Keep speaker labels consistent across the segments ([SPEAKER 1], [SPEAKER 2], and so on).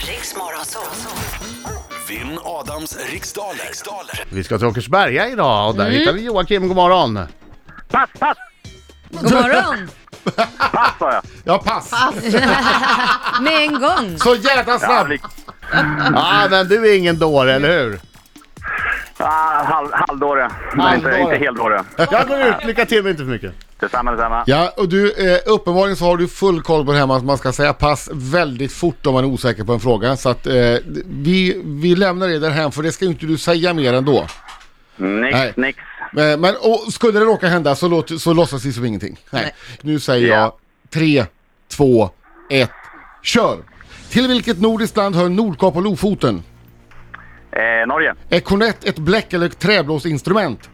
[SPEAKER 1] Riks Morgonzoo.
[SPEAKER 2] Vinn Adams riksdaler. riksdaler.
[SPEAKER 3] Vi ska till Åkersberga idag och där hittar vi Joakim, god morgon.
[SPEAKER 4] Pass, pass,
[SPEAKER 5] God morgon!
[SPEAKER 4] pass sa jag.
[SPEAKER 3] Ja, pass!
[SPEAKER 6] Alltså.
[SPEAKER 5] Med en gång.
[SPEAKER 3] Så jävla
[SPEAKER 4] Ja,
[SPEAKER 3] snabbt!
[SPEAKER 4] lik-
[SPEAKER 3] Ja, men du är ingen dåre, eller hur?
[SPEAKER 4] ah, halv, halvdåre. Men inte,
[SPEAKER 3] Halvdåre.
[SPEAKER 4] inte heldåre.
[SPEAKER 3] Jag går ut, lycka till men inte för mycket.
[SPEAKER 4] Detsamma, detsamma.
[SPEAKER 7] Ja, och du, eh, uppenbarligen så har du full koll på det här med att man ska säga pass väldigt fort om man är osäker på en fråga. Så att eh, vi, vi lämnar det därhän för det ska ju inte du säga mer ändå.
[SPEAKER 4] Nix,
[SPEAKER 7] Nej.
[SPEAKER 4] nix.
[SPEAKER 7] Eh, men och, skulle det råka hända så, låt, så låtsas vi som ingenting. Nej.
[SPEAKER 5] Nej.
[SPEAKER 7] Nu säger jag
[SPEAKER 4] Ja.
[SPEAKER 7] tre, två, ett, kör! Till vilket nordiskt land hör Nordkap och Lofoten?
[SPEAKER 4] Eh, Norge.
[SPEAKER 7] Är kornett ett bläck eller ett träblåsinstrument?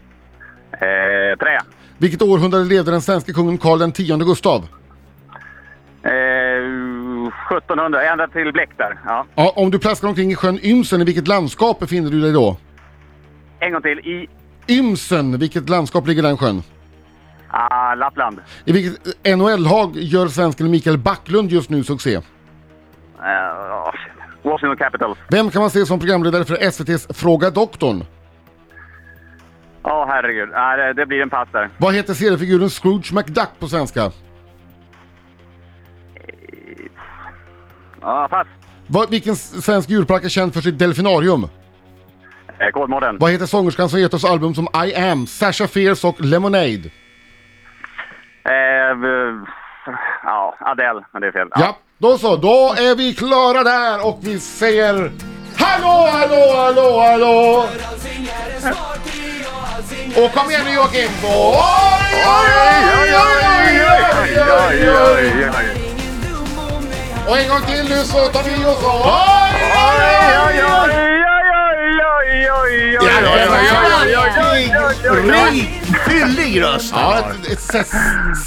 [SPEAKER 4] Eh, trä.
[SPEAKER 7] Vilket århundrade levde den svenska kungen Karl X Gustav?
[SPEAKER 4] Eh, 1700. Ända till bläck där. Ja.
[SPEAKER 7] Ja, om du plaskar omkring i sjön Ymsen, i vilket landskap befinner du dig då?
[SPEAKER 4] En gång till. I
[SPEAKER 7] Ymsen, vilket landskap ligger den sjön?
[SPEAKER 4] ah, Lappland.
[SPEAKER 7] I vilket eh, NHL-lag gör svensken Mikael Backlund just nu succé?
[SPEAKER 4] Eh, ah, shit. Washington Capitals.
[SPEAKER 7] Vem kan man se som programledare för SVT's Fråga Doktorn?
[SPEAKER 4] Ja, herregud. Ah, det, det blir en pass där.
[SPEAKER 7] Vad heter seriefiguren Scrooge McDuck på svenska?
[SPEAKER 4] Ja, pass.
[SPEAKER 7] Vad, vilken s- svensk djurpark är känd för sitt delfinarium?
[SPEAKER 4] Eh, Kolmården.
[SPEAKER 7] Vad heter sångerskan som gett oss album som I am, Sasha Fierce och Lemonade?
[SPEAKER 4] Eh, v- ja, Adele. Men det är fel.
[SPEAKER 7] Ja. då så. Då är vi klara där och vi säger hallå, hallå, hallå, hallå! Och kom igen nu Joakim! Oj, oj, oj, oj, oj, oj, oj, oj. Och en gång till nu så tar vi och så... Oj, oj, oj, oj.
[SPEAKER 3] Rik, fyllig röst!
[SPEAKER 7] Ja, ett, ett se-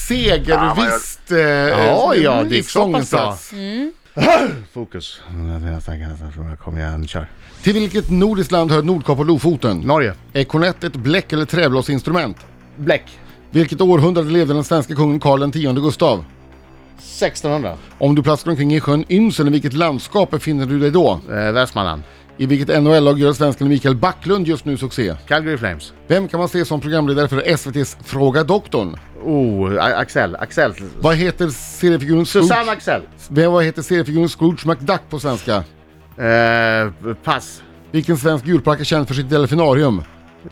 [SPEAKER 7] segervisst eh,
[SPEAKER 3] Ja, ja, det är så pass bra.
[SPEAKER 7] sånginsats.
[SPEAKER 3] Mm. Fokus. Kom igen, kör.
[SPEAKER 7] Till vilket nordiskt land hör Nordkap och Lofoten?
[SPEAKER 3] Norge.
[SPEAKER 7] Är kornett ett bläck eller träblåsinstrument?
[SPEAKER 3] Bläck.
[SPEAKER 7] Vilket århundrade levde den svenska kungen Karl X Gustav?
[SPEAKER 3] 1600.
[SPEAKER 7] Om du plaskar omkring i sjön Ymsen, i vilket landskap befinner du dig då?
[SPEAKER 3] Eh, Västmanland.
[SPEAKER 7] I vilket NHL-lag gör svensken Mikael Backlund just nu succé?
[SPEAKER 3] Calgary Flames.
[SPEAKER 7] Vem kan man se som programledare för SVT's Fråga Doktorn?
[SPEAKER 3] Oh, A- Axel. Axel.
[SPEAKER 7] Vad heter seriefiguren
[SPEAKER 3] Susanne
[SPEAKER 7] Scrooge?
[SPEAKER 3] Axel.
[SPEAKER 7] Vem, vad heter seriefiguren Scrooge McDuck på svenska?
[SPEAKER 3] Eh, pass.
[SPEAKER 7] Vilken svensk djurpark är känd för sitt delfinarium?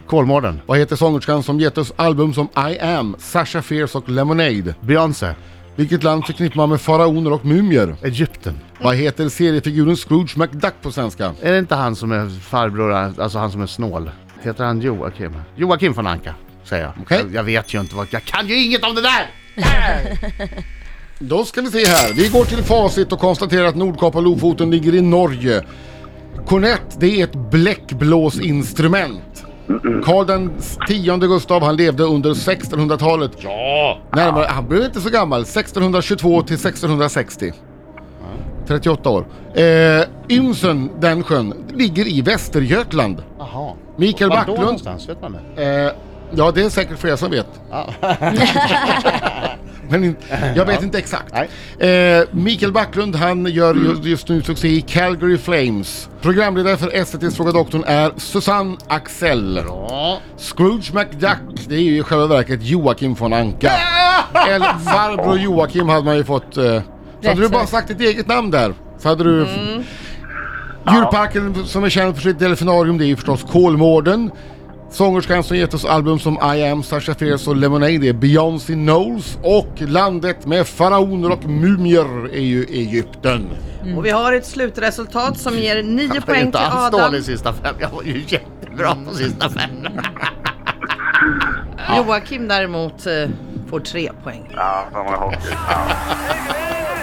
[SPEAKER 3] Kolmården.
[SPEAKER 7] Vad heter sångerskan som gett oss album som I am, Sasha Fierce och Lemonade?
[SPEAKER 3] Beyoncé.
[SPEAKER 7] Vilket land förknippar man med faraoner och mumier?
[SPEAKER 3] Egypten.
[SPEAKER 7] Vad heter seriefiguren Scrooge McDuck på svenska?
[SPEAKER 3] Är det inte han som är farbror, alltså han som är snål? Heter han Joakim? Joakim von Anka, säger jag.
[SPEAKER 7] Okej.
[SPEAKER 3] jag. Jag vet ju inte vad... Jag kan ju inget om det där!
[SPEAKER 7] Då ska vi se här. Vi går till facit och konstaterar att Nordkap och Lofoten ligger i Norge. Kornett, det är ett bläckblåsinstrument. Karl den tionde Gustav, han levde under 1600-talet. Ja! Närmare, han blev inte så gammal. 1622 till 1660. 38 år. Eh, Ymsen, den sjön, ligger i Västergötland.
[SPEAKER 3] Jaha.
[SPEAKER 7] Mikael
[SPEAKER 3] Var
[SPEAKER 7] Backlund.
[SPEAKER 3] då någonstans? Vet man det?
[SPEAKER 7] Eh, ja, det är säkert flera som vet. Men inte, jag vet inte exakt. Eh, Mikael Backlund, han gör ju- just nu succé i Calgary Flames. Programledare för SVT's Fråga Doktorn är Susanne Axel.
[SPEAKER 3] Ja.
[SPEAKER 7] Scrooge McDuck, det är ju i själva verket Joakim von Anka. Eller farbror Joakim hade man ju fått... Eh, så hade du bara sagt ditt eget namn där, så hade du... Djurparken som är känd för sitt delfinarium, det är ju förstås Kolmården. Sångerskan som gett oss album som I am, Sasha Fierce och Lemonade det är Beyoncé Knowles och landet med faraoner och mumier är ju Egypten.
[SPEAKER 6] Och vi har ett slutresultat som ger 9
[SPEAKER 3] Jag är
[SPEAKER 6] poäng
[SPEAKER 3] inte
[SPEAKER 6] till
[SPEAKER 3] alls dålig
[SPEAKER 6] Adam.
[SPEAKER 3] i sista fem. Jag var ju jättebra på sista fem.
[SPEAKER 6] Joakim däremot eh, får 3 poäng.
[SPEAKER 4] Ja, fan vad jag har.